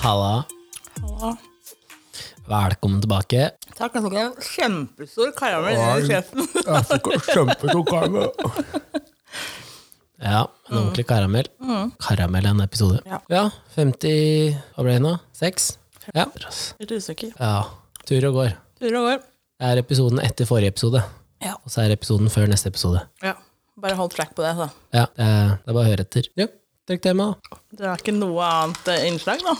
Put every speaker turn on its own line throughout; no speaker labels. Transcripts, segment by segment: Halla. Velkommen tilbake.
Takk, jeg tok en kjempestor karamell i kjeften.
Ja, En ordentlig karamell. Karamell er en episode.
Ja.
50 Hva ble det nå? Seks? Ja.
Litt usikker.
ja. Tur og går.
Turer og går.
Det er episoden etter forrige episode,
Ja.
og så er det episoden før neste episode.
ja. Bare hold track på det, da.
Ja, Det er, det er bare å høre etter. Ja, Trykk tema, da.
Det er ikke noe annet eh, innslag, da.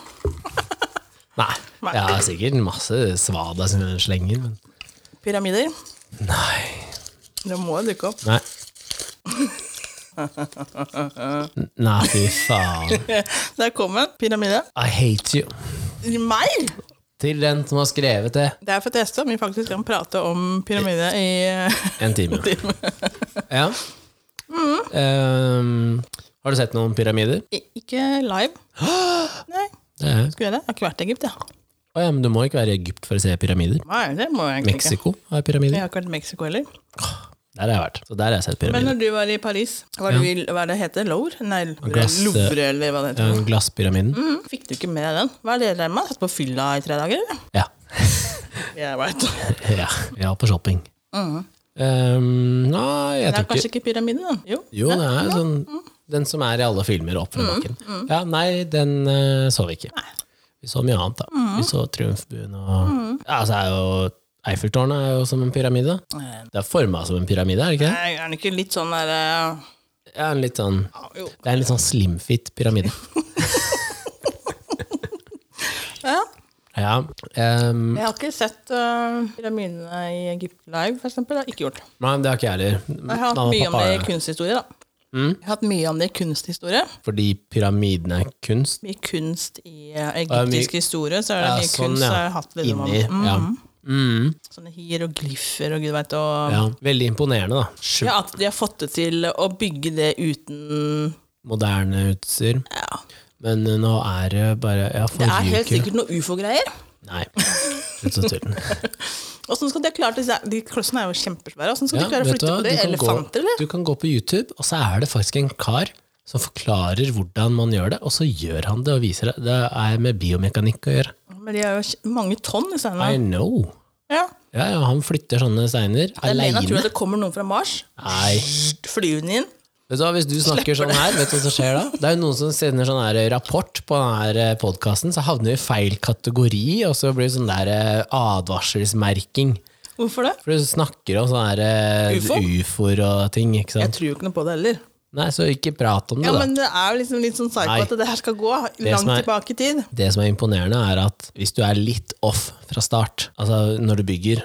Nei. Jeg har sikkert masse svada som jeg slenger, men
Pyramider.
Nei.
Det må jo dukke opp.
Nei. N- Nei, fy faen.
Der kom en pyramide.
I hate you.
I Meg!
Til den som har skrevet det.
Det er for å teste om vi faktisk kan prate om pyramide i
En time.
time.
Ja. Ehm, har du sett noen pyramider?
I- Ikke live. Nei,
Det er.
skulle jeg det? Jeg har ikke vært i Egypt, jeg.
Å ja, men du må ikke være i Egypt for å se pyramider.
Nei, det må jeg egentlig ikke.
Mexico har
Jeg
pyramider.
har ikke vært i Mexico heller.
Der har jeg vært. Så der har jeg sett
Men
pyramider.
når du var i Paris, hva er det, vi- hva er det heter? Louvre? Nei,
Glass, eh,
Louvre, eller hva det heter.
Ja, Glasspyramiden.
Mm, fikk du ikke med deg den? Hva er det dere med? Satt på fylla i tre dager? eller?
Ja.
Jeg vet.
ja. Ja, på shopping. Ehm, nei, jeg
Mm. Det er
tror ikke
kanskje ikke pyramiden, da? Jo.
Jo, det er sånn
Mm.
Den som er i alle filmer opp fra bakken. Ja, nei, den eh, så vi ikke. Vi så mye annet, da.
Mm.
Vi så Triumfbuen og Ja, så er jo Eiffeltårnet er jo som en pyramide.
Eh,
Det er forma som en pyramide, er det ikke det?
Er den ikke litt sånn der eh,
Ja, en litt sånn
ja, Jo.
Det er en litt sånn slimfit pyramide.
Ja.
Ja. ehm,
Jeg har ikke sett eh, pyramidene i Egypt live, for eksempel. Det har jeg ikke gjort.
nei, det har ikke jeg heller.
Jeg har
Mamma
hatt
og
mye om
pappa har
det i
det.
kunsthistorie, da.
Mm.
Jeg har hatt mye om det i kunsthistorie.
Fordi pyramiden er kunst.
Mye kunst i eh,
er mye-
egyptisk historie, så er det
Ja,
mye
sånn,
kunst.
ja.
så jeg har hatt litt om
Inni. Ja. Mm,
Sånne hieroglyfer og gud veit og
ja. Veldig imponerende, da. Sjukt
ja, At de har fått det til å bygge det uten
moderne utstyr.
ja,
Men eh, nå er det bare Ja,
Det er
forrige
helt
uke
sikkert noe ufo-greier.
Nei, slutt å tulle. Hvordan
Åssen skal de ha klart disse De klossene er jo kjempesvære. Åssen skal de klare å flytte på det? Elefanter, eller?
du kan gå på YouTube, og så er det faktisk en kar som forklarer hvordan man gjør det, og så gjør han det og viser det. Det er med biomekanikk å gjøre.
Men de er jo kj- mange tonn i
I
steinene.
know.
Ja.
Ja, ja, han flytter sånne steiner
Det er mer naturlig
aleine.
at det kommer noen fra Mars.
Nei.
Flyr den inn.
Vet du hva, Hvis du snakker sånn her, vet du hva som skjer da? Det er jo noen som sender sånn her rapport på denne podkasten, så havner vi i feil kategori, og så blir det sånn der eh, advarselsmerking.
Hvorfor det?
For du snakker om sånne her, eh,
Ufo?
ufoer og ting, ikke
Jeg
sant?
tror jo ikke noe på det heller.
Nei, så ikke prat om det,
Ja,
da.
men det er jo liksom litt sånn psyko
Nei.
at det her skal gå
som
langt
er-
tilbake i tid.
Det som er imponerende, er at hvis du er litt off fra start, altså når du bygger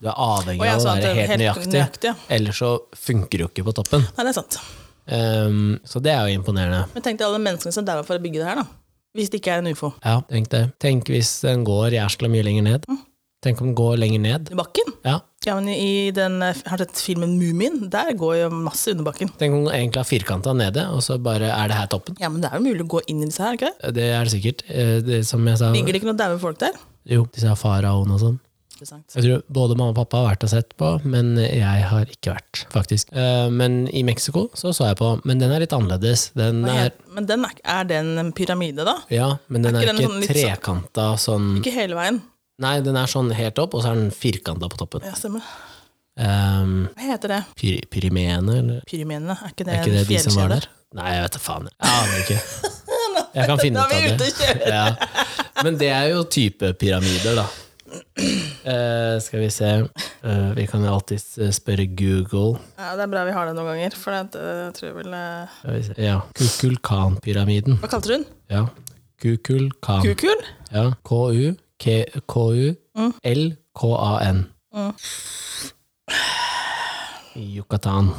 Du er avhengig
Mm. Å, ja,
av å
sånn
være
at det er
helt
helt
nøyaktig,
nøyaktig, ja.
ellers så funker det jo ikke på toppen.
Nei, det er sant.
Ehm, så det er jo imponerende.
Men tenk deg alle menneskene som daua for å bygge det her, da. Hvis det ikke er en ufo.
Ja, tenk det. Tenk hvis den går jæskla mye lenger ned.
Mm.
Tenk om den går lenger ned.
I bakken.
Ja.
Ja, men i den, eh, Har du sett filmen Mumien? Der går jo masse under bakken.
Tenk om den egentlig har firkanta nede, og så bare er det her toppen.
Ja, men det er jo mulig å gå inn i disse her, ikke det?
Det er det sikkert. Eh, Det, som jeg sa,
Ligger det ikke noen daue folk der?
jo, disse faraoene og sånn.
Interessant.
Jeg tror både mamma og pappa har vært og sett på, men jeg har ikke vært, faktisk. Eh, Men i Mexico så så jeg på, men den er litt annerledes. Den
Hva
er,
het- Men den er, er den en pyramide, da?
ja, men den
Er
er
ikke den
ikke
sånn litt sånn-
trekanta sånn
Ikke hele veien.
Nei, den er sånn helt opp, og så er den firkanta på toppen.
Ja, stemmer.
Um,
Hva heter det?
Pyrimene, eller?
Pyramidene? Er ikke det,
Er ikke det
en
de som var
fjellkjede?
der? Nei, jeg vet da faen. Jeg aner ikke. Jeg kan finne
Da
ut
er vi
av
ute
det.
og kjører!
Ja. Men det er jo type pyramider, da. Eh, skal vi se Eh, Vi kan jo alltids eh, spørre Google.
Ja, det er bra vi har det noen ganger, for det, eh, jeg tror vel eh,
Skal vi se. Ja. Kukulkanpyramiden.
Hva kalte du den?
Ja. Kukulkan.
Kukul?
Ja. KU, K- KU, LKAN.
Mm.
I Yucatan.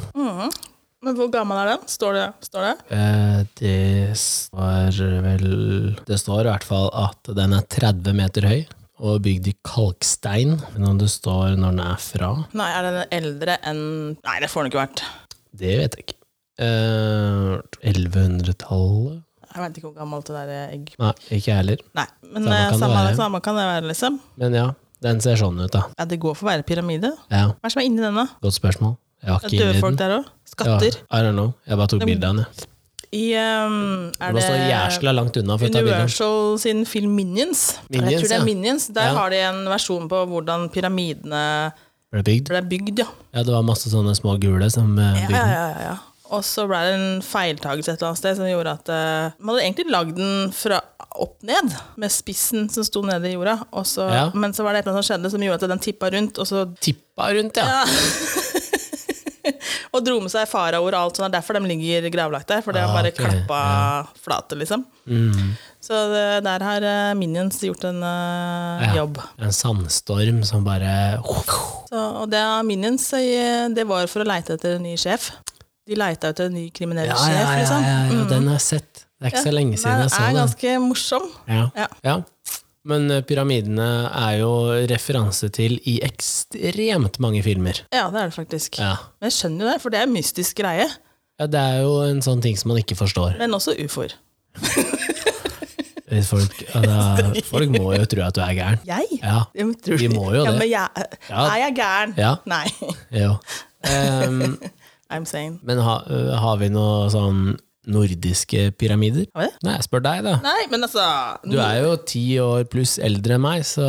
Men hvor gammel er den? Står det? Står det?
Eh, Det står vel Det står i hvert fall at den er 30 meter høy. Og bygd i kalkstein. Men om det står når den er fra,
Nei, er den eldre enn Nei, det får den ikke vært.
det vet jeg ikke. Eh, 1100-tallet?
Jeg veit ikke hvor gammelt det der er egg
Nei, ikke jeg heller.
Nei, men
Samme
eh,
kan det
samme,
være.
samme kan det være, liksom.
Men ja, den ser sånn ut, da.
Ja, det går for å være pyramide.
Ja,
Hva er det som er inni denne?
Godt spørsmål. Jeg var
Det
ikke inne
er
i
døde
den.
folk der òg? Skatter?
Ja, I don't know. Jeg bare tok bilde av den. jeg.
I ehm, er
Det var så
det
jæsla langt unna. For å ta bilder.
Universal sin film Minions? jeg
Minions,
tror det
ja.
er Minions. Der
Ja.
har de en versjon på hvordan pyramidene
Ble det bygd?
ble bygd, ja.
Ja, det var masse sånne små gule som eh,
Ja,
bygde
ja,
den.
ja, ja. Og så ble det en feiltagelse et eller annet sted som gjorde at eh, Man hadde egentlig lagd den fra opp ned, med spissen som sto nede i jorda, og så,
Ja.
men så var det et eller annet som skjedde som gjorde at den tippa rundt, og så
Tippa rundt, ja.
og dro med seg faraoer og alt sånt. Det er derfor de ligger gravlagt der, for det har
Ah,
bare
ok,
klappa flate, liksom.
Mm.
Så det, der har eh, Minions gjort en eh,
Ja.
jobb.
En sandstorm som bare
Så, og det er Minions eh, det var for å leite etter en ny sjef. De leita etter en ny kriminell
Ja, ja,
sjef,
ja, ja,
liksom.
ja, ja den har jeg sett. Det er ikke så lenge siden
Den
jeg så
er
den.
ganske morsom.
Ja.
Ja.
ja. Men eh, pyramidene er jo referanse til i ekstremt mange filmer.
Ja, det er det faktisk.
Ja.
Men jeg skjønner jo det, for det er en mystisk greie.
ja, det er jo en sånn ting som man ikke forstår.
Men også ufoer.
Hvis Folk, ja, da- folk må jo tro at du er gæren.
Jeg?
Ja,
Jeg tror-
De må jo
ja,
det.
Men jeg,
Ja.
Er jeg gæren?
Ja.
Nei.
jo. Ehm,
I'm saying.
men ha, ø, har vi noe sånn nordiske pyramider?
Har vi det?
Nei, jeg spør deg, da.
Nei, men altså
Du er jo ti år pluss eldre enn meg, så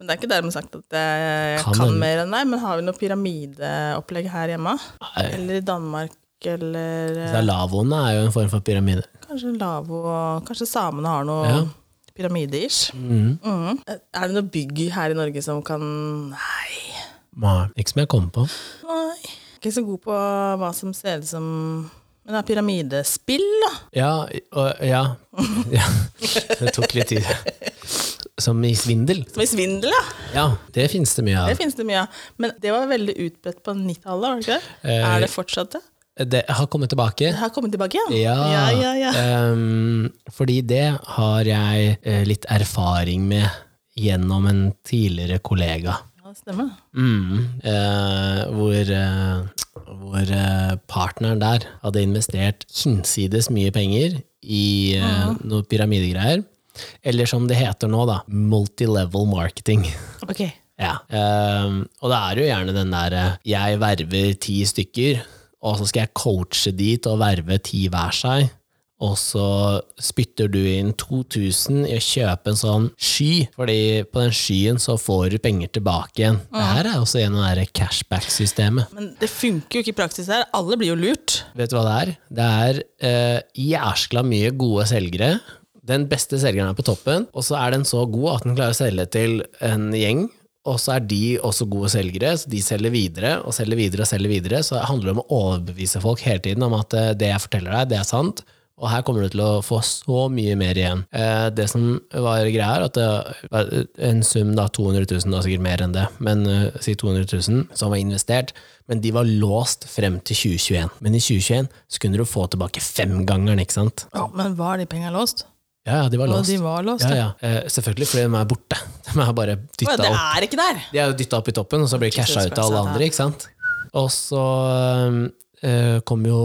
Men det er ikke dermed sagt at jeg
Kan
kan,
hende.
mer enn deg, men har vi noe pyramideopplegg her hjemme?
Nei.
Eller i Danmark, eller
Så
eh,
Lavoene er jo en form for pyramide.
kanskje Lavo Kanskje samene har noe
Ja.
pyramide-ish?
Mhm.
Mhm. Er det noe bygg her i Norge som kan Nei.
Nei, Ikke som jeg kom på.
Nei. Ikke så god på hva som ser ut som Men det er pyramidespill, da.
Ja, og, ja. ja. Det tok litt tid. Som i svindel.
Som i svindel, ja.
Ja, det finnes det mye
Det
av.
finnes det mye av. Men det var veldig utbredt på 90-tallet, var det ikke det?
Eh,
er det fortsatt det?
Det har kommet tilbake.
Det har kommet tilbake igjen?
Ja,
ja, ja, ja.
ehm, fordi det har jeg eh, litt erfaring med gjennom en tidligere kollega.
ja det stemmer.
Mm, eh, hvor eh, hvor eh, partneren der hadde investert hinsides mye penger i eh, noen pyramidegreier. Eller som det heter nå, da, multilevel marketing.
Ok.
Ja. ehm, og det er jo gjerne den derre jeg verver ti stykker, og så skal jeg coache dit og verve ti hver seg. Og så spytter du inn 2000 i å kjøpe en sånn sky, fordi på den skyen så får du penger tilbake igjen. Det her er også gjennom det her cashback-systemet.
Men det funker jo ikke i praksis her. Alle blir jo lurt.
Vet du hva det er? Det er eh, jæskla mye gode selgere. Den beste selgeren er på toppen, og så er den så god at den klarer å selge til en gjeng. Og så er de også gode selgere, så de selger videre og selger videre. og selger videre, Så det handler om å overbevise folk hele tiden om at eh, det jeg forteller deg, det er sant. Og her kommer du til å få så mye mer igjen. Eh, det som var greia, er at det var en sum, da, 200 000, da, sikkert mer enn det, men eh, si 200 000, som var investert, men de var låst frem til 2021. Men i 2021 så kunne du få tilbake femgangeren, ikke sant?
Men var de penga låst?
Ja, ja, de var
Og
låst.
de var låst,
Ja,
ja.
ja. Eh, selvfølgelig, fordi de er borte. De er bare dytta
Det
opp.
er ikke der!
De er jo dytta opp i toppen, og så blir de
Jesus
casha ut av
Christ,
alle
ja.
andre, ikke sant? Og så eh, kom jo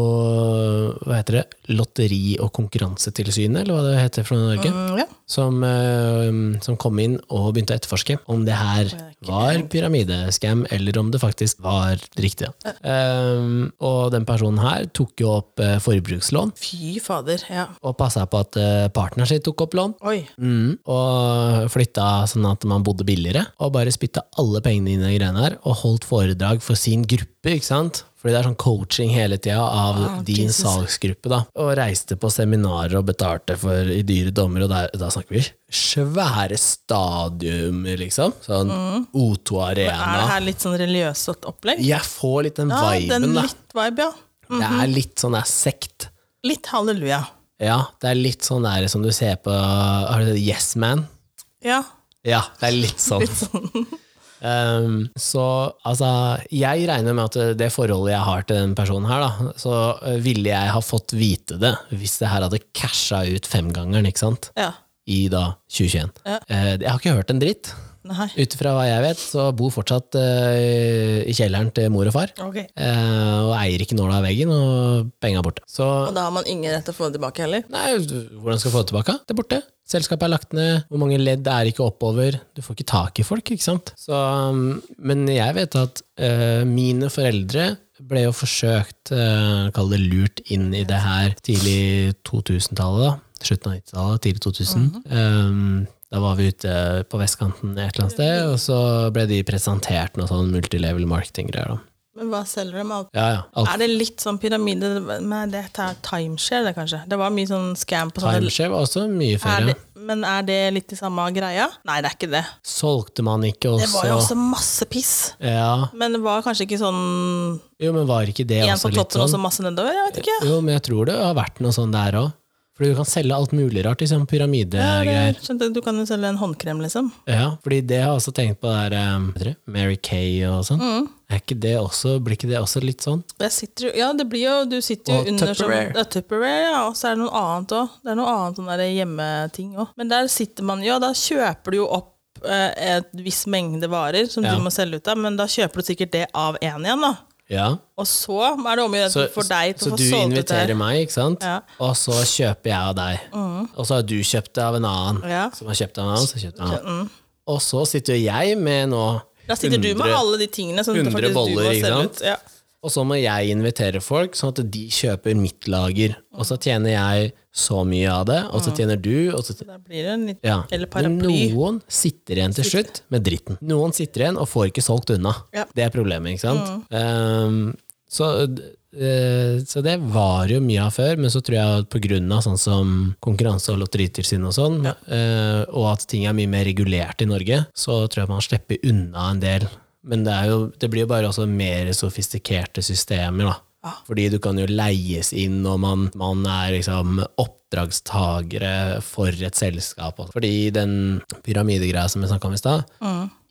hva heter det, Lotteri- og konkurransetilsynet, eller hva det heter fra Norge,
Mm, ja.
som, eh, som kom inn og begynte å etterforske om det her var pyramideskam, eller om det faktisk var riktig. da. Eh, og den personen her tok jo opp eh, forbrukslån,
Fy fader. Ja.
og passa på at eh, partneren sin tok opp lån.
Oi.
Mm, og flytta sånn at man bodde billigere, og bare spytta alle pengene inn i de greiene her, og holdt foredrag for sin gruppe, ikke sant? Fordi det er sånn coaching hele tida av din
Ah, Jesus.
salgsgruppe, da. Og reiste på seminarer og betalte for i dyre dommer, og der, da snakker vi svære stadiumer, liksom. Sånn O2
Mm. Er det
Arena.
her litt sånn religiøst opplegg?
Jeg får litt den
Ja, den
viben, da.
litt mhm. vibe, ja.
Det er litt sånn det er sekt.
Litt halleluja.
Ja, det er litt sånn der som du ser på Har du sett Yes Man?
Ja.
Ja, det er litt sånn. Um, så altså, jeg regner med at det forholdet jeg har til den personen her, da, så eh, ville jeg ha fått vite det hvis det her hadde casha ut femgangeren, ikke sant,
ja.
i da 2021.
Ja.
Eh, jeg har ikke hørt en dritt.
Nei.
Ut ifra hva jeg vet, så bor fortsatt eh, i kjelleren til mor og far.
Ok.
eh, og eier ikke nåla av veggen, og penga er borte. Så
Og da har man ingen rett til å få det tilbake heller.
Nei, du- hvordan skal du få det tilbake? Det er borte. Selskapet er lagt ned, hvor mange ledd er ikke oppover? Du får ikke tak i folk, ikke sant? Så, um, men jeg vet at eh, mine foreldre ble jo forsøkt, eh, kall det lurt, inn i det her tidlig 2000-tallet. da. Slutten av 90-tallet, tidlig 2000.
Mhm.
Eh, da var vi ute på vestkanten et eller annet sted, og så ble de presentert noe sånn multilevel marketing-greier. da.
Men hva selger de? Alt?
Ja, ja. Alt
Er det litt sånn pyramide Men det er timeshare, det, kanskje? Det var mye sånn scam på sånne
timeshare var også mye
er
ferie.
det, Men er det litt i samme greia? Nei, det er ikke det.
Solgte man ikke også
Det var jo også masse piss.
Ja,
Men det var kanskje ikke sånn
jo, men var ikke det
én
også
på
litt
toppen og
sånn?
så masse nedover? Jeg vet ikke.
Jo, men jeg tror det har vært noe sånn der òg. For du kan selge alt mulig rart i sånn pyramidegreier.
Skjønte, du kan jo selge en håndkrem, liksom.
Ja, fordi det har jeg også tenkt på der um, hva heter det? Mary Kay og sånn.
Mm.
Er ikke det også, blir ikke det også litt sånn?
Jeg sitter jo, ja, det blir jo, du sitter jo
Og
under
Tupperware.
som ja, Tupperware. Ja, og så er det noe annet òg. Det er noe annet sånn der hjemmeting òg. Men der sitter man jo, da kjøper du jo opp eh, et viss mengde varer som
Ja.
du må selge ut av, men da kjøper du sikkert det av én igjen, da.
Ja.
Og så er det omgjørende for deg til
så
å
du
få solgt ut
inviterer
det.
meg, ikke sant?
Ja. Mm.
Og så kjøper jeg av deg. Og så har du kjøpt det av en annen.
Ja. mm.
Som har kjøpt det av en annen, så kjøpt det av en annen. Og så sitter jo jeg med nå
Da sitter du med
100
alle de tingene som
100
faktisk du
boller,
må
ikke
selge
sant?
ut. Ja.
Og så må jeg invitere folk, sånn at de kjøper mitt lager. Og så tjener jeg så mye av det, og så tjener du, og så
Da blir det en liten
ja.
Eller
Men
paraply.
noen sitter igjen til slutt med dritten. Noen sitter igjen og får ikke solgt unna.
Ja. Mm.
Det er problemet, ikke sant? Ehm, så, eh, så det var jo mye av før, men så tror jeg at på grunn av sånn som konkurranse og lotteritilsyn og sånn, eh, og at ting er mye mer regulert i Norge, så tror jeg man slipper unna en del. Men det, er jo, det blir jo bare også mer sofistikerte systemer, da. Fordi du kan jo leies inn, og man, man er liksom oppdragstagere for et selskap. også. Fordi den pyramidegreia som jeg snakka om i stad,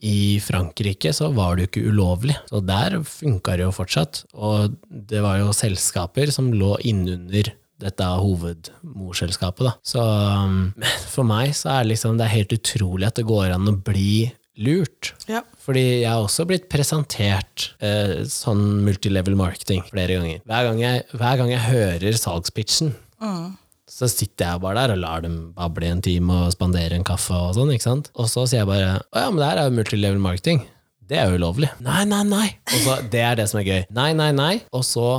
i Frankrike så var det jo ikke ulovlig. Så der funka det jo fortsatt. Og det var jo selskaper som lå innunder dette hovedmorselskapet, da. Så um, for meg så er liksom, det er helt utrolig at det går an å bli lurt.
Ja.
Fordi jeg har også blitt presentert eh, sånn multilevel marketing flere ganger. Hver gang jeg, hver gang jeg hører salgspitchen, Mm. så sitter jeg bare der og lar dem bable i en time og spandere en kaffe og sånn, ikke sant? Og så sier jeg bare å ja, men det her er jo multilevel marketing. Det er jo ulovlig. Nei, nei, nei. Og så, det er det som er gøy. Nei, nei, nei. Og så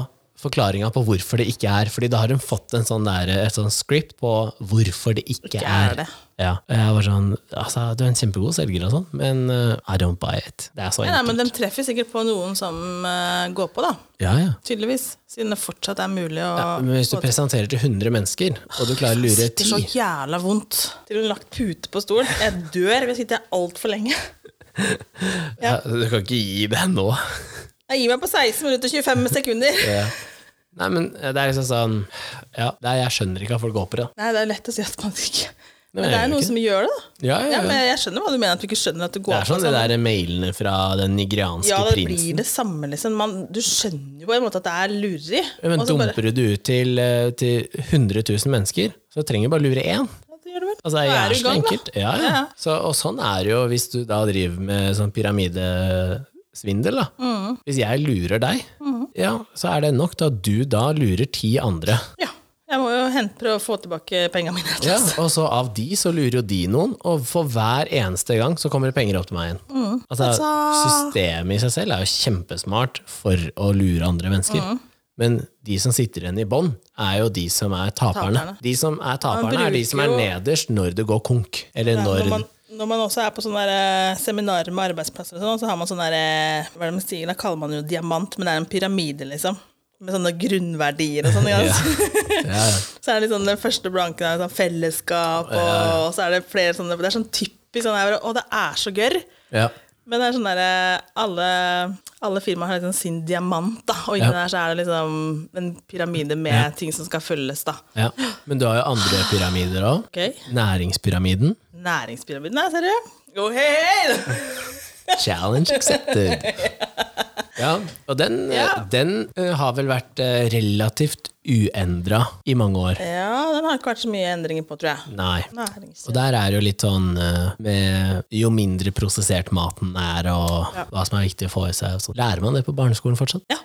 forklaringa på hvorfor det ikke er. Fordi da har hun fått en sånn der, et sånn script på hvorfor det ikke,
er
er.
det.
Ja. Og jeg var sånn altså, Du er en kjempegod selger, og sånn, men eh, I don't buy it. Det er så
Nei, nei,
enkelt.
men de treffer sikkert på noen som eh, går på, da.
Ja, ja.
Tydeligvis. Siden det fortsatt er mulig å
Men hvis du presenterer til 100 mennesker, og du klarer å
Det
lure
sitter så
10
jævla vondt til hun har lagt pute på stolen. Jeg dør hvis ikke jeg er altfor lenge.
ja, Du kan ikke gi deg nå.
Jeg gir meg på 16 minutter og 25 sekunder.
Nei, men det er liksom sånn Ja, det er, jeg skjønner ikke at folk går på det.
Nei, det er lett å si at man ikke
Nei,
Men det
jeg
er
gjør
noen
ikke.
som gjør det, da.
Ja, ja,
Ja, men
ja.
jeg skjønner hva du mener, at du ikke skjønner at du
Det
går
er
på
sånn de der mailene fra den nigerianske
Ja, det blir
prinsen.
det samme, liksom. Man, du skjønner jo på en måte at det er lureri.
Ja, Men
og så bare-
dumper du det ut til, eh, til 100 000 mennesker, så trenger du bare lure én.
Ja, det gjør du vel.
Altså, det
Da
er
du i
jævlig
gang, da.
enkelt. Ja, ja.
Ja.
Så, og sånn er det jo hvis du da driver med sånn pyramidesvindel. Da.
Mm.
Hvis jeg lurer deg, ja, så er det nok til at du da lurer ti andre.
Ja. Jeg må jo hente, prøve å få tilbake pengene mine.
Ja, og så av de så lurer jo de noen, og for hver eneste gang så kommer det penger opp til meg igjen. Altså,
Mm. Altså-
systemet i seg selv er jo kjempesmart for å lure andre mennesker.
Mm.
Men de som sitter igjen i bånn, er jo de som er taperne.
Taperne.
De som er
Man
taperne, er de
bruker
som er
jo-
nederst når det går konk. Eller
Ja,
når,
Når man, når man også er på sånne der, eh, seminarer med arbeidsplasser, og sånn, så har man sånn der, eh, hva er det man sier, da kaller man jo diamant, men det er en pyramide, liksom. Med sånne grunnverdier og sånn. ikke sant?
ja, ja.
så er det liksom den første blanken er sånn fellesskap, og, og så er det flere sånne Det er sånn typisk sånn her, og det er så gørr.
Ja.
Men det er sånn derre alle, alle firmaer har liksom sin diamant, da, og inni
Ja.
der så er det liksom en pyramide med ting som skal følges, da.
Ja. Men du har jo andre pyramider òg.
Ok?
Næringspyramiden.
Næringspyramiden, nei, ser du? Go ahead!
Challenge accepted. Ja, og den, eh,
Ja.
den eh, har vel vært eh, relativt uendra i mange år.
Ja, den har ikke vært så mye endringer på, tror jeg.
Nei.
Nærings-
Og der er det jo litt sånn eh, med jo mindre prosessert maten er, og hva som er viktig å få i seg. og sånn. Lærer man det på barneskolen fortsatt?
Ja,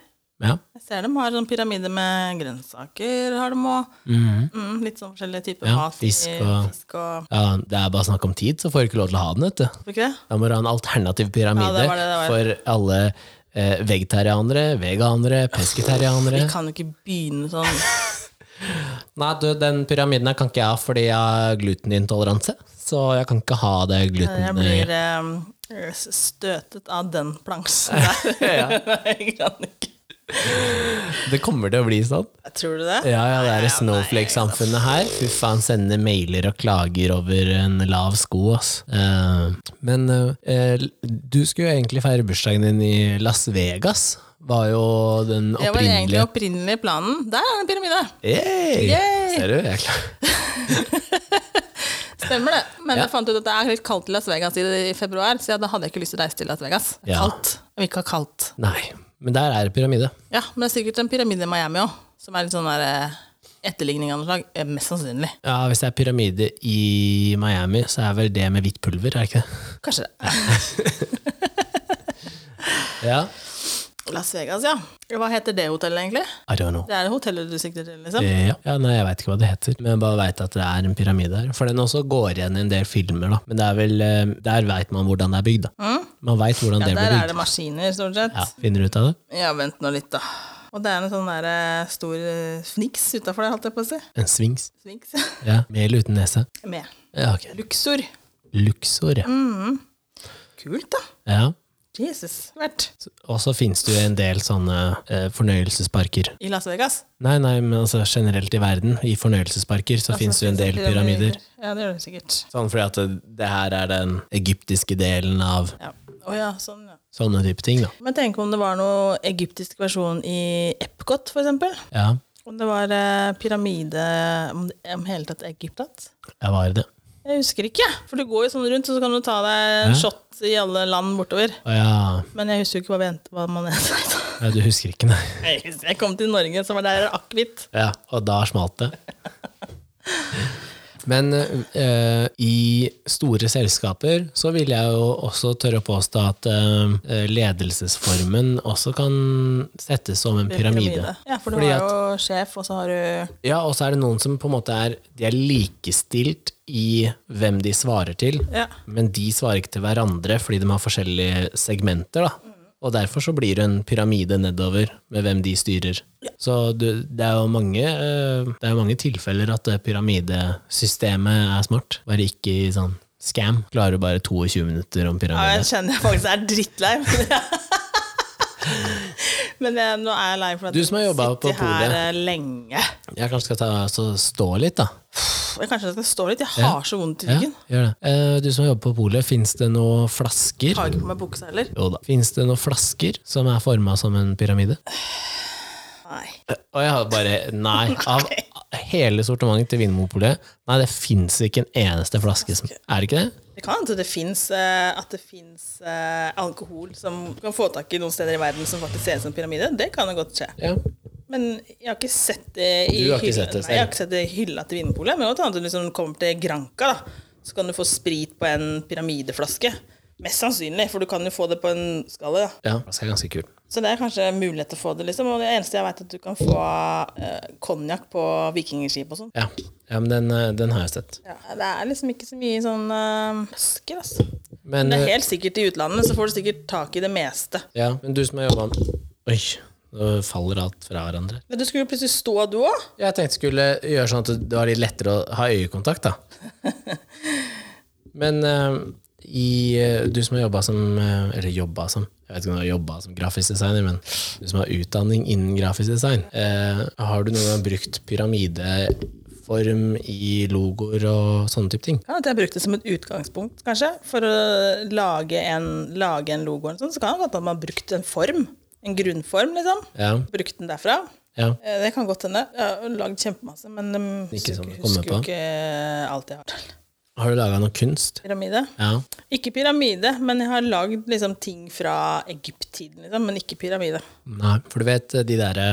Ja.
jeg ser de har sånn pyramide med grønnsaker, har de òg. Mm, litt sånn forskjellige typer
Mhm. Ja,
mat. i-
fisk og-
fisk og
ja, Det er bare snakk om tid, så får du ikke lov til å ha den, vet du.
Tror du ikke det?
Da må du ha en alternativ pyramide
Ja, det var det det var.
for alle eh, vegetarianere, veganere,
Vi
pesketarianere.
kan jo ikke begynne sånn.
Nei, du, den pyramiden her kan ikke jeg ha fordi jeg har glutenintoleranse. Så jeg kan ikke ha det gluten...
Jeg blir eh, støtet av den plansen der. jeg kan ikke.
Det kommer til å bli sånn.
Tror du det? altså.
Ja, ja, det er Snowflake-samfunnet her. Fy faen, sender mailer og klager over en lav sko, ass. Eh, men eh, du skulle jo egentlig feire bursdagen din i Las Vegas. Var jo den
Det var egentlig
opprinnelige
opprinnelig planen. Der er en pyramide!
Hey!
Yay!
Ser du? Jeg er klar.
Stemmer det. Men jeg fant ut at det er litt kaldt i Las Vegas i, i februar, så ja, da hadde jeg ikke lyst til å reise til Las Vegas. Det er
Ja.
Kaldt. Jeg vil ikke ha kaldt.
Nei. Men der er det pyramide.
Ja, men det er sikkert en pyramide i Miami òg, som er litt sånn der eh, etterligning av noe slag. Eh, Mest sannsynlig.
Ja, Hvis det er pyramide i Miami, så er vel det med hvitt pulver, er det ikke det?
Kanskje det.
Ja.
Las Vegas, ja. Hva heter det hotellet, egentlig?
I don't know.
Det er hotellet du sikter til, liksom?
Eh, Ja. ja, nei, Jeg veit ikke hva det heter, men jeg bare veit at det er en pyramide her. For den også går igjen i en del filmer, da. Men det er vel, eh, der veit man hvordan det er bygd, da. Man veit hvordan det
Mm. Der
blir
er
bygd.
det maskiner, stort sett.
Ja, Finner du ut av det?
Ja, vent nå litt, da. Og det er en sånn der eh, stor eh, fniks utafor der, holdt jeg på å si.
En svings.
Sfinks.
Ja, Med eller uten nese?
Med
Ja, ok.
luksor.
Luxor,
Mm.
ja.
Kult, da.
ja.
Jesus. Vært.
Og så finnes det jo en del sånne eh, fornøyelsesparker.
I Las Vegas.
Nei, nei, men altså generelt i verden, i fornøyelsesparker, så finnes det jo en del pyramider.
Ja, det gjør det sikkert.
Sånn fordi at det, det her er den egyptiske delen av
Ja. Å ja, sånn, ja.
sånne type ting, da.
Men tenk om det var noe egyptisk versjon i Epcot, for eksempel.
Ja,
Om det var eh, pyramide Om det om hele tatt Egypt hatt?
jeg var det.
Jeg husker ikke, for du går jo sånn rundt, og så kan du ta deg en
Hæ?
shot i alle land bortover.
Å ja.
Men jeg husker jo ikke hva, vi endte, hva man endte
ja, du husker ikke, nei.
Jeg husker- Jeg kom til Norge, så var det her akevitt.
Ja, og da smalt det. Men eh, i store selskaper så vil jeg jo også tørre å påstå at eh, ledelsesformen også kan settes som en pyramide.
Ja, for du
Fordi
har jo sjef, og så har du
Ja, og så er det noen som på en måte er De er likestilt i hvem de svarer til,
Ja.
men de svarer ikke til hverandre fordi de har forskjellige segmenter, da. Og derfor så blir det en pyramide nedover med hvem de styrer. Så du, det er jo mange, eh, det er jo mange tilfeller at det pyramidesystemet er smart. Bare ikke i sånn scam. Klarer bare 22 minutter om
Ja,
pyramide.
jeg kjenner jeg faktisk er drittlei. Men jeg, nå er jeg lei for at
Du som har
jeg
jobbet på
sitter her
polet.
eh, lenge.
Jeg kanskje skal ta, så stå litt, da.
Pff, Jeg kanskje skal stå litt. Jeg har så vondt i
Ja,
ryggen.
gjør det. Eh, Du som har jobbet på polet, fins det noen flasker?
Har ikke på meg buksa heller.
Jo da. Fins det noen flasker som er forma som en pyramide?
Nei.
Og jeg har bare Nei. Av hele sortimentet til Vinmonopolet Nei, det fins ikke en eneste flaske som Er det ikke det?
Det kan hende det fins eh, at det fins eh, alkohol som du kan få tak i noen steder i verden som faktisk ser ut som en pyramide. Det kan jo godt skje.
Ja.
Men jeg har ikke sett det i
Du har ikke
hylla-
sett det selv?
Nei, jeg har ikke sett det i hylla til Vinmonopolet. Men det kan hende du liksom kommer til Granca, da, så kan du få sprit på en pyramideflaske. Mest sannsynlig, for du kan jo få det på en skalle. Da.
ja flaske er ganske kult.
Så det er kanskje mulighet til å få det, liksom. Og det eneste jeg vet, er at du kan få eh, konjakk på vikingskip og sånn.
Ja. ja, men den, eh, den har jeg sett.
Ja, det er liksom ikke så mye sånn eh, flasker, altså.
Men,
Men det
eh,
er helt sikkert i utlandet, så får du sikkert tak i det meste.
ja, men du som har jobba Oi, nå faller alt fra hverandre.
Men du skulle jo plutselig stå, du òg.
Jeg tenkte jeg skulle gjøre sånn at det var litt lettere å ha øyekontakt, da. Men eh, i, eh, du som har jobba som eh, Eller jobba som Jeg vet ikke om du har jobba som grafisk designer, men du som har utdanning innen grafisk design, eh, har du noen gang brukt pyramideform i logoer og sånne type ting?
Kan hende jeg brukte det som et utgangspunkt, kanskje, for å lage en, lage en logo. eller sånn, Så kan det godt hende man har brukt en form. En grunnform, liksom.
Ja,
Brukt den derfra.
ja.
Eh, Det kan godt hende. Jeg har lagd kjempemasse, men um,
Ikke som det kommer
husker jo
på.
ikke alt jeg har til.
Har du laga noe kunst?
Pyramide.
Ja.
Ikke pyramide, men jeg har lagd liksom, ting fra Egypt-tiden, liksom, men ikke pyramide.
Nei, for du vet de derre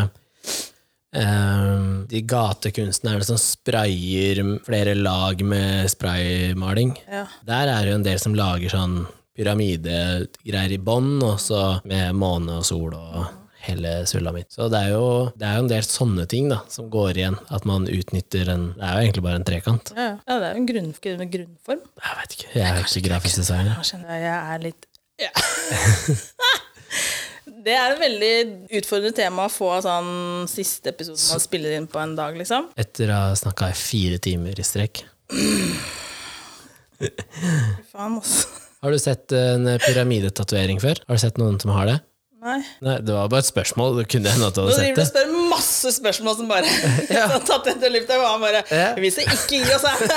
eh, de gatekunstnerne som sprayer flere lag med spraymaling.
Ja.
Der er det jo en del som lager sånn pyramidegreier i bånn, og så med måne og sol og hele sulamitten. Så det er, jo, det er jo en del sånne ting da, som går igjen. At man utnytter en Det er jo egentlig bare en trekant.
Ja, ja. ja det er jo en grunn, en grunnform.
Jeg vet ikke, jeg er ikke grafisk designer.
Jeg kjenner jeg er litt ja. Det er et veldig utfordrende tema å få sånn siste episode man spiller inn på en dag, liksom.
Etter å ha snakka i fire timer i strekk.
Fy Faen, altså.
Har du sett eh, en pyramidetatovering før? Har du sett noen som har det?
Nei.
Nei, det var bare et spørsmål. Det kunne hende at du
Nå
hadde
driver
sett
du
det.
og spør masse spørsmål som bare ja. tatt etter lufta. Og han bare
Ja.
Vi skal ikke gi oss her!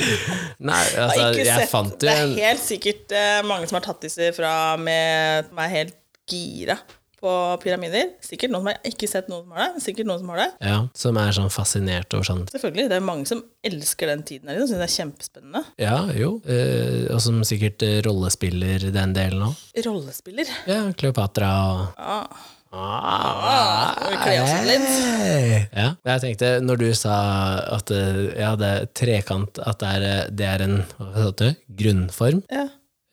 Nei,
Jeg har
altså,
ikke
jeg
sett-
fant jo
det er
en
helt sikkert eh, mange som har tatt disse fra med som er helt gira på pyramider. Sikkert noen som har ikke sett noen som har det. Sikkert noen som har det.
ja, som er sånn fascinert over sånn
Selvfølgelig, det er mange som elsker den tiden her, og syns det er kjempespennende.
Ja, jo. Eh, og som sikkert eh, rollespiller den delen òg.
Rollespiller.
Ja, Kleopatra og
Ja.
Ah,
Ah, vi kler oss litt.
hey. Ja, jeg tenkte når du sa at eh, ja, det er trekant at det er, eh, det er en hva sa du, grunnform,
Ja,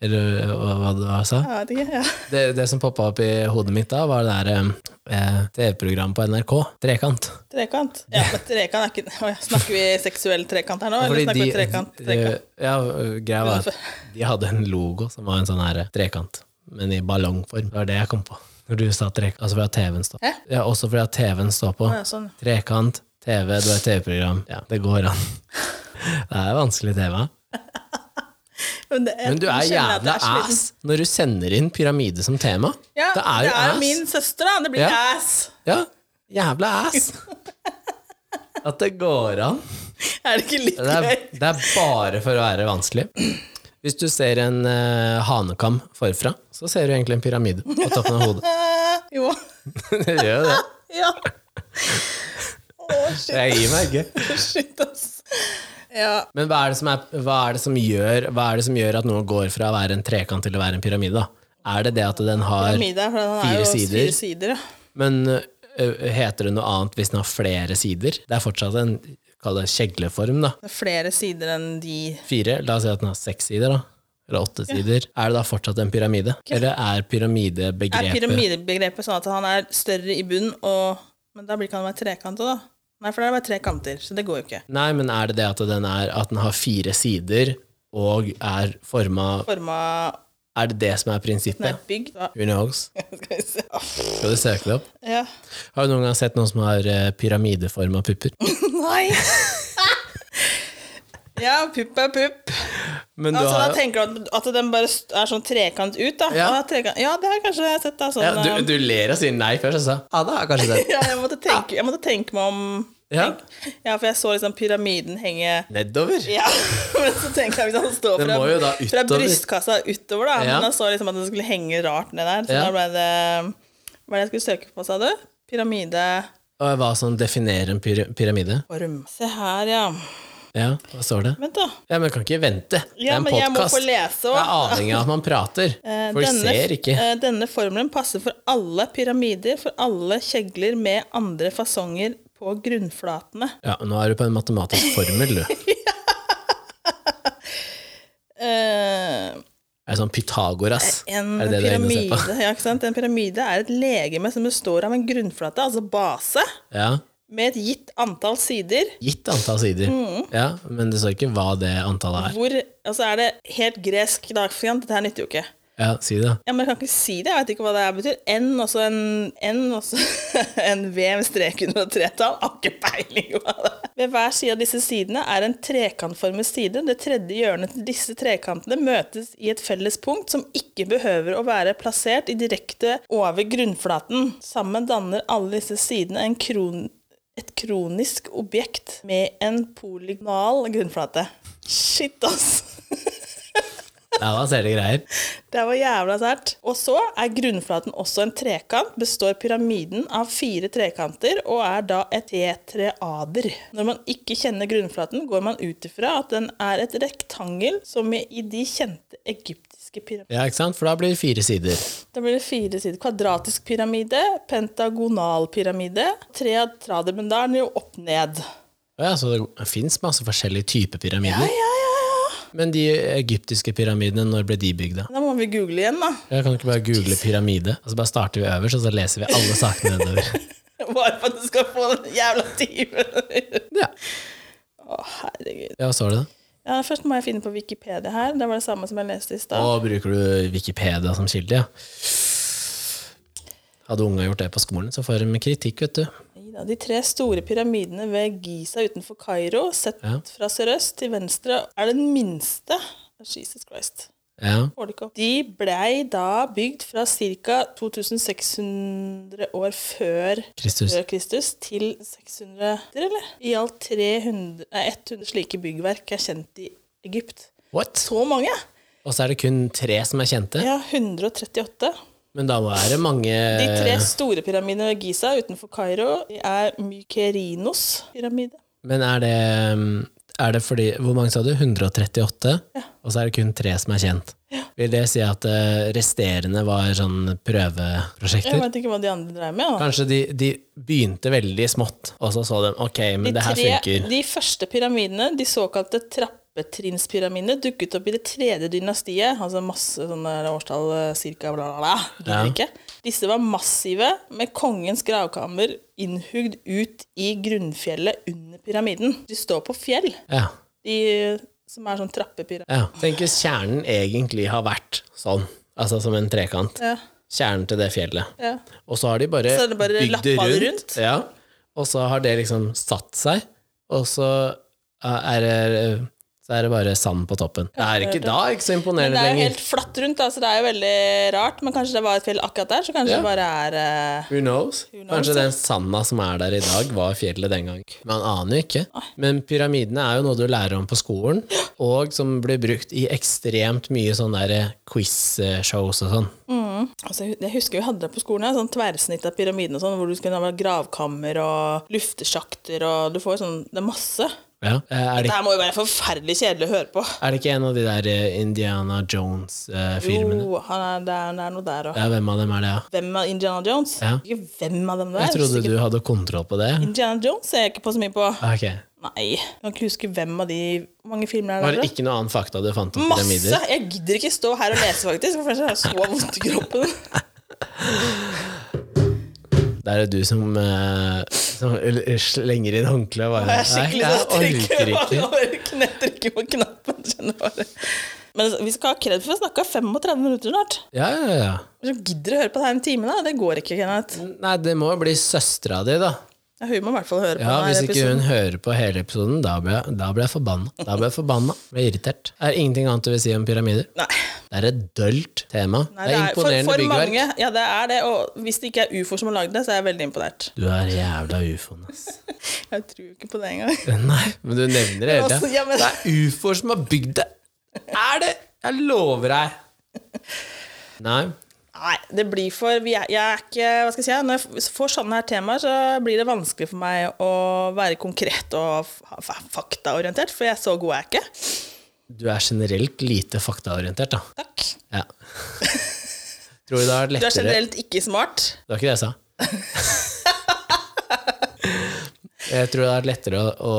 eller eh, hva, hva du sa.
jeg vet ikke. Ja.
Det, det som poppa opp i hodet mitt da, var det der eh, TV-programmet på NRK, Trekant.
Trekant. Ja, men trekant er ikke Å ja, Snakker vi seksuell trekant her nå, eller
Fordi
snakker vi
de-
trekant? trekant?
eh, Ja, eh, greia var at de hadde en logo som var en sånn her eh, trekant, men i ballongform. Det var det jeg kom på. Når du sa trekant, altså fordi at TV-en står på.
Hæ?
Ja, også fordi at TV-en står på.
Å ja, sånn.
Trekant, TV, du har et TV-program. Ja, det går an. Det er vanskelig tema.
Men, det er-
Men du er
jeg kjenner at
jævla
jeg er sliten.
ass når du sender inn pyramide som tema.
Ja,
det er jo ass.
min søster, da. Det blir
Ja.
ass.
Ja, jævla ass. At det går an.
Er det ikke litt
Det er,
gøy?
det er bare for å være vanskelig. Hvis du ser en eh, hanekam forfra, så ser du egentlig en pyramide på toppen av hodet.
Eh, jo.
Det gjør jo det.
Ja. Å, shit,
Jeg gir meg ikke.
shit, ass. Ja.
Men hva er, det som er, hva, er det som gjør, hva er det som gjør at noe går fra å være en trekant til å være en pyramide? da? Er det det at den har
Middag, for den
fire
er jo
sider.
fire sider. Ja.
Men ø, heter det noe annet hvis den har flere sider? Det er fortsatt en kall det kjegleform, da.
Det er flere sider enn de
Fire. La oss si at den har seks sider, da. Eller åtte sider. Er det da fortsatt en pyramide? Eller er
Er
pyramidebegrepet
pyramidebegrepet sånn at han er større i bunnen og Men da blir ikke han være trekant òg, da. Nei, for det er bare tre kanter, så det går jo ikke.
Nei, men er det det at den, er, at den har fire sider og er forma
Forma
Er det det som er
Nei,
prinsippet?
bygg da.
Who knows?
Skal vi se. Åh,
Skal du søke det opp?
Ja.
Har du noen gang sett noen som har eh, pyramideforma pupper?
Nei! ja, pupp er pupp.
Men du
Altså, da
har jo
tenker du at, at den bare st- er sånn trekant ut, da.
Ja.
Ja, trekant. ja det har jeg kanskje sett. da sånn,
ja, du,
eh,
du ler og sier nei først, altså. og så Ja, det har kanskje det.
ja, jeg, måtte tenke, jeg måtte tenke meg om
Ja.
Ja, for jeg så liksom pyramiden henge
Nedover.
Ja, men så tenker jeg hvis han står
Den
fra,
må jo da
fra
utover.
brystkassa utover, da.
Ja.
Men han så liksom at den skulle henge rart ned der. Så
Ja.
da ble det Hva er det jeg skulle søke på, sa du? Pyramideorm.
Og hva som definerer en pyra- pyramide?
Se her, ja.
Ja, hva står det?
Vent, da.
Ja, men jeg kan ikke vente. det
Ja,
er en
men jeg må
podkast.
få
Jeg
lese òg.
er avhengig av at man prater.
Eh,
Folk ser ikke.
eh, denne formelen passer for alle pyramider, for alle kjegler med andre fasonger på grunnflatene.
Ja, nå er du på en matematisk formel, du. Er
Eh,
det sånn Pythagoras?
en,
er det det du er inne og ser på?
pyramide, ja, ikke sant? en pyramide er et legeme som består av en grunnflate, altså base,
Ja.
med et gitt antall sider.
Gitt antall sider. Ja, men det står ikke hva det antallet er.
Hvor, altså er det helt gresk da, for eksempel, dette her nytter jo ikke.
Ja, si det.
Ja, men jeg kan ikke si det, jeg vet ikke hva det her betyr. N, også en, N, også en V med strek under og tretall. Har ikke peiling hva det er. Ved hver side av disse sidene er en trekantformet side. Det tredje hjørnet til disse trekantene møtes i et felles punkt som ikke behøver å være plassert i direkte over grunnflaten. Sammen danner alle disse sidene en kron... Et kronisk objekt med en polygonal grunnflate. Shit, ass!
Ja, da ser det greier.
Det var jævla sært. Og så er grunnflaten også en trekant. Består pyramiden av fire trekanter og er da et tetreader. Når man ikke kjenner grunnflaten, går man ut ifra at den er et rektangel som i i de kjente egyptiske pyramidene.
Ja, ikke sant? For da blir det fire sider.
Da blir det fire sider. Kvadratisk pyramide, pentagonal pyramide, treatrader, men da er den jo opp ned.
Ja, så det fins masse forskjellige typer pyramider.
Ja, ja, ja.
Men de egyptiske pyramidene, når ble de bygd? da?
Da må vi google igjen, da.
Jeg kan ikke bare google pyramide, og så bare starter vi øverst, og så leser vi alle sakene nedover.
Bare for at du skal få den jævla timen.
Ja,
Å, herregud.
ja hva står det da?
Ja, Først må jeg finne på Wikipedia her. Det var det samme som jeg leste i stad.
Og bruker du Wikipedia som kilde, ja? Hadde unga gjort det på skolen, så får de kritikk, vet du.
Neida, De tre store pyramidene ved Giza utenfor Kairo, sett
Ja.
fra sørøst til venstre, er den minste. Jesus Christ.
Ja.
Får det ikke opp. De blei da bygd fra ca. 2600 år før
Kristus.
før Kristus til 600, eller? I alt 300, nei, 100 slike byggverk er kjent i Egypt.
What?
Så mange!
Og så er det kun tre som er kjente.
Ja, 138.
Men da er det mange
De tre
Eh.
store pyramidene ved Giza utenfor Kairo de er Mykerinos pyramide.
Men er det, mm, er det fordi Hvor mange sa du? 138? Og så er det kun tre som er kjent. Vil det si at eh, resterende var sånn
Jeg
prøveprosjekter?
vet ikke hva de andre dreier med. Da.
Kanskje de, de begynte veldig smått, og så så de ok, men
De,
det her
tre,
funker.
de første pyramidene, de såkalte trappetrinnspyramidene, dukket opp i det tredje dynastiet. Altså masse sånne årstall, eh, cirka bla, bla, bla.
Ja.
Gidder ikke. Disse var massive, med kongens gravkammer innhugd ut i grunnfjellet under pyramiden. De står på fjell,
Ja,
de som er sånn trappepyramide.
ja. Tenk hvis kjernen egentlig har vært sånn, altså som en trekant.
Ja,
Kjernen til det fjellet.
ja.
Og så har de bare,
Så er det bare
bygd det
lappa
rundt.
det rundt.
Ja. Og så har det liksom satt seg, og så eh, er det, så er det bare sand på toppen. Det er ikke, da er det ikke så
Men
imponerende
det er jo
lenger.
helt flatt rundt, da, så det er jo veldig rart. Men kanskje det var et fjell akkurat der, så kanskje
Ja.
det bare er eh,
Who knows?
knows,
Kanskje
ja.
den sanda som er der i dag, var fjellet den gang. Man aner jo ikke. Men pyramidene er jo noe du lærer om på skolen, og som blir brukt i ekstremt mye sånne der eh, quiz-shows og sånn.
altså, jeg hu- Jeg husker vi hadde det på skolen, her, sånn tverrsnitt av pyramiden og sånn, hvor du skulle ha gravkammer og luftesjakter og Du får jo sånn Det er masse.
Ja. Eh, Er, det,
Det her må jo være forferdelig kjedelig å høre på.
er det ikke en av de der eh, Indiana Jones-filmene?
Jo, han er, det, er, det er noe der òg.
Ja, hvem av dem er det, ja?
Hvem er Indiana Jones?
Ja.
Ikke hvem av dem der.
Jeg trodde
Sikkert
du hadde kontroll på det. Ah,
Indiana Jones ser jeg ikke på så mye på.
Ok.
Nei, jeg kan ikke huske hvem av de Hvor mange filmer er
Var
det.
det
da?
ikke noe annen fakta du fant om
Masse!
pyramider?
Jeg gidder ikke stå her og lese, faktisk. For først har jeg så vondt i kroppen.
Det er det du som, eh, som l- l- slenger inn håndkleet og bare
Jeg er skikkelig
Nei,
sånn
jeg orker
trykker
ikke.
bare kne- trykker på knappen. skjønner du bare. Men vi skal ha kred for vi snakka 35 minutter snart.
Ja, ja, ja.
Så gidder du å høre på det her en time, da? Det går ikke, Kenneth.
Nei, det må jo bli søstera di, da.
Ja, Hun må i hvert fall høre på
Ja,
denne
Hvis ikke
episoden.
hun hører på hele episoden, da blir jeg, da blir jeg forbanna. Da blir jeg forbanna. Blir irritert. Det er ingenting annet du vil si om pyramider.
Nei.
Det er et dølt tema.
Nei,
det er
for,
imponerende
for
byggverk.
mange. Ja, det er det. Og hvis det ikke er ufoer som har lagd det, så er jeg veldig imponert.
Du er jævla ufoen, ass.
Jeg tror ikke på det engang.
Nei, men du nevner det hele
Altså, ja,
tida.
men-
Det er ufoer som har bygd det! Er det? Jeg lover deg! Nei.
Nei, det blir for vi er, Jeg er ikke Hva skal jeg si? Når jeg f- får sånne her temaer, så blir det vanskelig for meg å være konkret og f- f- faktaorientert, for jeg er så god er jeg ikke.
Du er generelt lite faktaorientert, da.
Takk.
Ja. Tror du det har vært
Du er
lettere
generelt ikke smart.
Det var ikke det jeg sa. jeg tror det hadde vært lettere å, å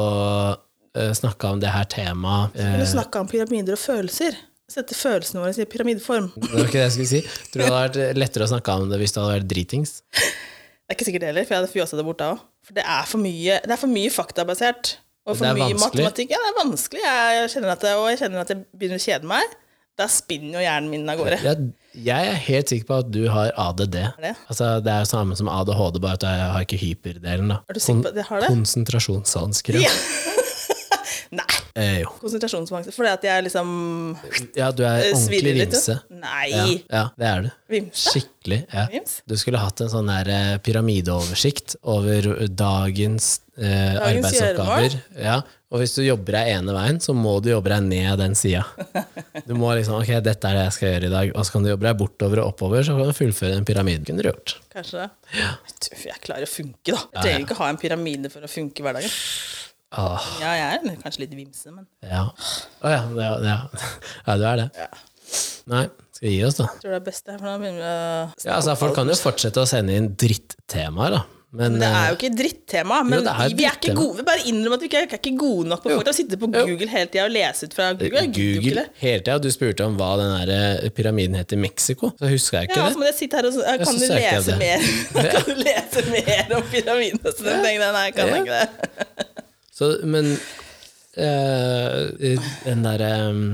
eh, snakke om det her temaet eh,
Når du snakker om pyramider og følelser, sette følelsene våre i pyramideform.
Det var ikke det jeg skulle si. Tror det hadde vært lettere å snakke om det hvis det hadde vært dritings.
Det er ikke sikkert det heller, for jeg hadde fjåsa det bort da òg. For det er for mye, det er for mye faktabasert. Og for
Det er
mye
vanskelig.
matematikk. Ja, det er vanskelig. Jeg kjenner at det, og jeg kjenner at jeg begynner å kjede meg. Da spinner jo hjernen min av gårde.
Jeg, jeg er helt sikker på at du har ADD.
det?
Altså, det er jo samme som ADHD, bare at jeg har ikke hyperdelen. Da.
Er du sikker på at jeg har det?
Konsentrasjonsvansker.
Ja. Nei.
Eh, jo.
Konsentrasjonsangst. Fordi at jeg liksom
Ja, du er
eh,
ordentlig
svirrer litt.
vimse.
jo. Nei.
Ja, ja, det er du.
Vimse?
Skikkelig. Ja.
Vims?
Du skulle hatt en sånn der eh, pyramideoversikt over dagens, eh, arbeidsoppgaver. Ja. Og hvis du jobber deg ene veien, så må du jobbe deg ned den sida. Du må liksom Ok, dette er det jeg skal gjøre i dag. Og så kan du jobbe deg bortover og oppover, så kan du fullføre den pyramiden. Kunne du gjort.
Kanskje det. Vet du, Jeg klarer å funke, da. Jeg trenger ikke ha en pyramide for å funke i hverdagen.
Åh,
Ja, jeg er kanskje litt vimse, men
Ah, ja. Å ja, ja, ja. Ja, du er det. Nei, skal vi gi oss, da?
jeg tror det er best det. For da begynner vi å
Ja, altså, folk kan jo fortsette å sende inn drittemaer, da. Men,
Men det
eh,
er jo ikke drittema. Men
Jo, det er
vi, vi er ikke
drittema.
gode, vi bare innrømmer at vi ikke er, ikke er gode nok på folk til å sitte på Google hele tida og lese ut fra Google. Jeg gidder jo ikke
Eh, Google
det.
hele tida. Du spurte om hva den der eh, pyramiden het i Mexico. Så huska jeg
Ja,
ikke
så må jeg sitte her og så, eh, Kan
så
du
søker jeg
lese
det.
mer Kan du lese mer om pyramidene? Så jeg tenkte, nei, jeg kan
Ja.
ikke det.
det. Så, men eh, den eh, derre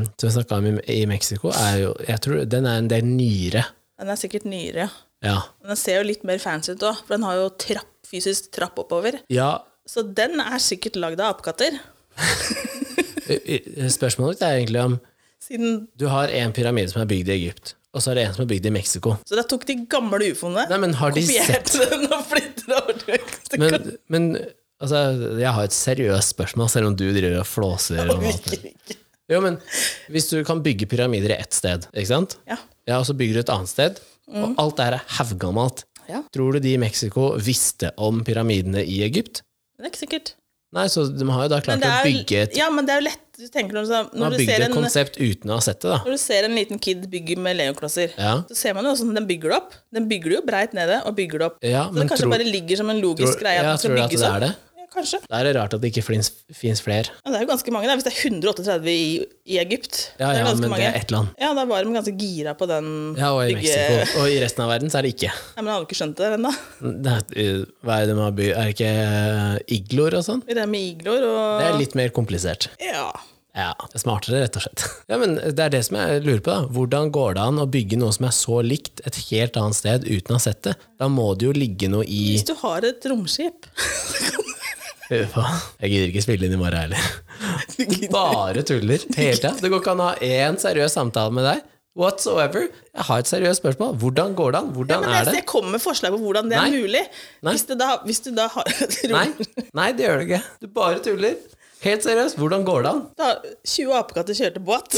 som vi snakka om i, i Mexico, er jo jeg tror den er en del nyere.
Den er sikkert nyere.
Ja.
Men Den ser jo litt mer fancy ut òg, for den har jo trapp, fysisk trapp oppover.
ja.
Så den er sikkert lagd av apekatter.
eh, eh, Spørsmålet ditt er egentlig om
Siden,
Du har en pyramide som er bygd i Egypt, og så er det en som er bygd i Mexico.
så da tok de gamle ufoene,
Nei, men har de sett
kopierte den og flyttet den over til Mexico.
Men, men altså, jeg har et seriøst spørsmål, selv om du driver og flåser. Om alt.
Virker ikke.
Jo, men hvis du kan bygge pyramider i ett sted, ikke sant?
Ja.
Ja, og så bygger du et annet sted,
Mm.
og alt der er haugammalt.
Ja.
Tror du de i Mexico visste om pyramidene i Egypt?
Det er ikke sikkert.
Nei, så de har jo da
Men
klart
det
å
er,
bygge et,
ja, men det er jo lett du tenker når, du-
de
når,
har
du
bygd
ser
et
en, når
konsept uten å ha sett det, da.
du ser en liten kid bygge med legoklosser,
Ja,
så ser man jo hvordan den bygger det opp. Den bygger det jo breit nede og bygger det opp.
ja
Så det
men
kanskje
tror,
bare ligger som en logisk
tror,
greie at
ja,
den skal
tror du at
bygges
det
opp.
er det?
Ja, kanskje.
Da er det rart at det ikke finnes, finnes flere.
Ja, det er jo ganske mange, da. hvis det er 138 i, i Egypt.
Ja,
det er
ja,
ganske
men
mange.
det er ett land.
Ja, da var de ganske gira på den.
Ja, og i
bygge-
Mexico. Og i resten av verden så er det ikke.
Nei, men hadde du ikke skjønt det ennå?
Det er, eh, hva er det de har by... Er det ikke eh, igloer og sånn?
Det der med igloer og
Det er litt mer komplisert.
Ja.
Ja, det er smartere, rett og slett. Ja, men Det er det som jeg lurer på. da. Hvordan går det an å bygge noe som er så likt et helt annet sted uten å ha sett det? Da må det jo ligge noe i
Hvis du har et romskip
Hør på. Jeg gidder ikke spille inn i morgen heller. Bare tuller hele tida. Det går ikke an å ha én seriøs samtale med deg whatsoever. Jeg har et seriøst spørsmål. Hvordan går det an? Hvordan
Men
er
jeg,
det?
jeg kommer med forslag på hvordan det er
Nei.
mulig.
Nei.
Hvis du da, hvis du da har et rom
Nei, nei, det gjør det ikke. Du bare tuller. Helt seriøst, hvordan går det an?
da, 20 apekatter kjørte båt.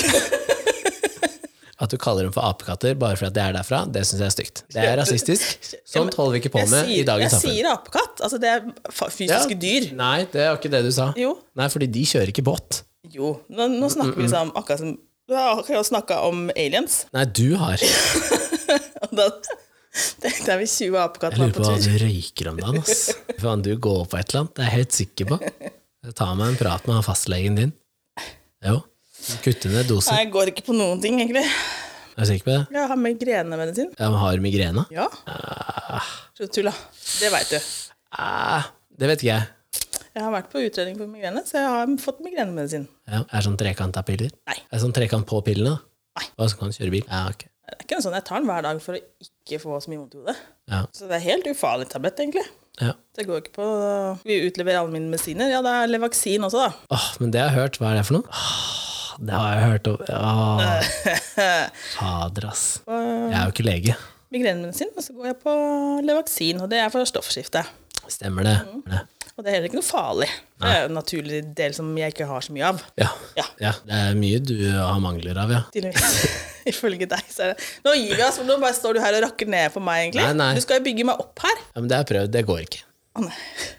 At du kaller dem for apekatter bare fordi de er derfra, det syns jeg er stygt. Det er rasistisk. Sånt holder vi ikke på
Jeg
med i
sier, jeg
dagens samfunn.
sier apekatt. Altså, det er fa- fysiske dyr.
Nei, det er jo ikke det du sa.
Jo.
Nei, fordi de kjører ikke båt.
Jo. Nå, nå snakker
Mm,
vi liksom akkurat som Du har akkurat snakka om aliens.
Nei, du har. Jeg
Og da tenkte jeg vi 20 apekatter var
lurer på
på
hva
tur.
du røyker om dagen, ass. Faen, du går på et eller annet, det er jeg helt sikker på. Ta meg en prat med han fastlegen din. Jo. Kutte ned
Nei,
dosen.
jeg går ikke på noen ting, egentlig.
Er du sikker på det?
Jeg har migrenemedisin.
Ja, men har du migrene?
Ja. Slutt å tulle. Det veit du.
Ah, det vet ikke jeg.
Jeg har vært på utredning for migrene, så jeg har fått migrenemedisin.
Ja, er sånn trekant av piller?
Nei.
Er sånn trekant på pillene? da?
Nei.
Og så kan du kjøre bil? Ja, ok.
Det er ikke noe sånn, Jeg tar den hver dag for å ikke få så mye vondt i hodet.
Ja.
Så det er helt ufarlig tablett, egentlig.
ja.
Det går ikke på eh, Vi utleverer alle mine medisiner. Ja, det er Levaksin også, da.
Åh, men det har jeg hørt. Hva er det for noe? Åh, det har jeg hørt om. Åh, fader, ass. Jeg er jo ikke lege.
Migrenemedisin, og så går jeg på Levaksin, og det er for stoffskifte.
Stemmer det. det.
Og det er heller ikke noe farlig. Det er jo en naturlig del som jeg ikke har så mye av.
Ja.
Ja.
ja. Det er mye du har mangler av, ja.
Tydeligvis. Ifølge deg, så er det Nå gir vi oss, for nå bare står du her og rakker ned på meg, egentlig.
Nei, nei.
Du skal jo bygge meg opp her.
ja men det har jeg prøvd. Det går ikke.
Å nei.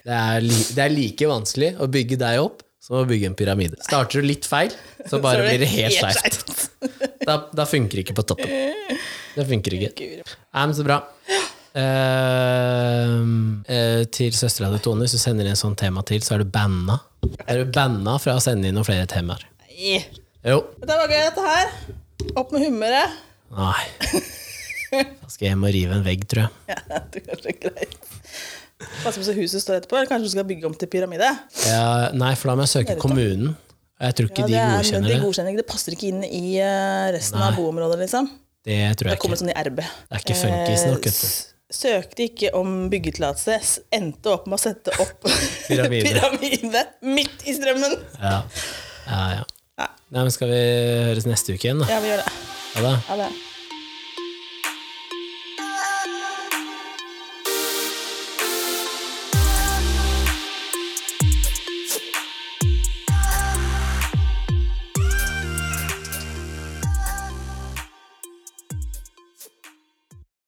Det er, li det er like vanskelig å bygge deg opp som å bygge en pyramide. Starter du litt feil, så bare blir det helt skeivt. Da, da funker det ikke på toppen. Det funker ikke.
skeivt.
Nei, men så bra. Ehm, eh, til søstera di, Tone, hvis du sender inn sånn tema til, så er du banna. Er du banna fra å sende inn noen flere temaer?
Nei.
Jo.
Dette var gøy, dette her. Opp med humøret.
Nei. Da skal jeg hjem og rive en vegg, tror jeg.
Ja, det er kanskje greit. Pass på så huset står etterpå. Eller kanskje du skal bygge om til pyramide?
Ja, nei, for da må jeg søke kommunen. Og jeg tror ikke
det,
de
er-
godkjenner
de
det.
godkjenner ikke. Det passer ikke inn i eh, resten av boområdet, liksom.
Det tror
Det
jeg
kommer
ikke.
sånn i RB.
Det er ikke funkis nok, vet du.
Eh, s- Søkte ikke om byggetillatelse, s- endte opp med å sette opp
Pyramide.
pyramide midt i strømmen.
Ja. Ja, ja.
Ja.
Nei, men skal vi høres neste uke igjen, da?
Ja, vi gjør det.
Ha det.
Ha det.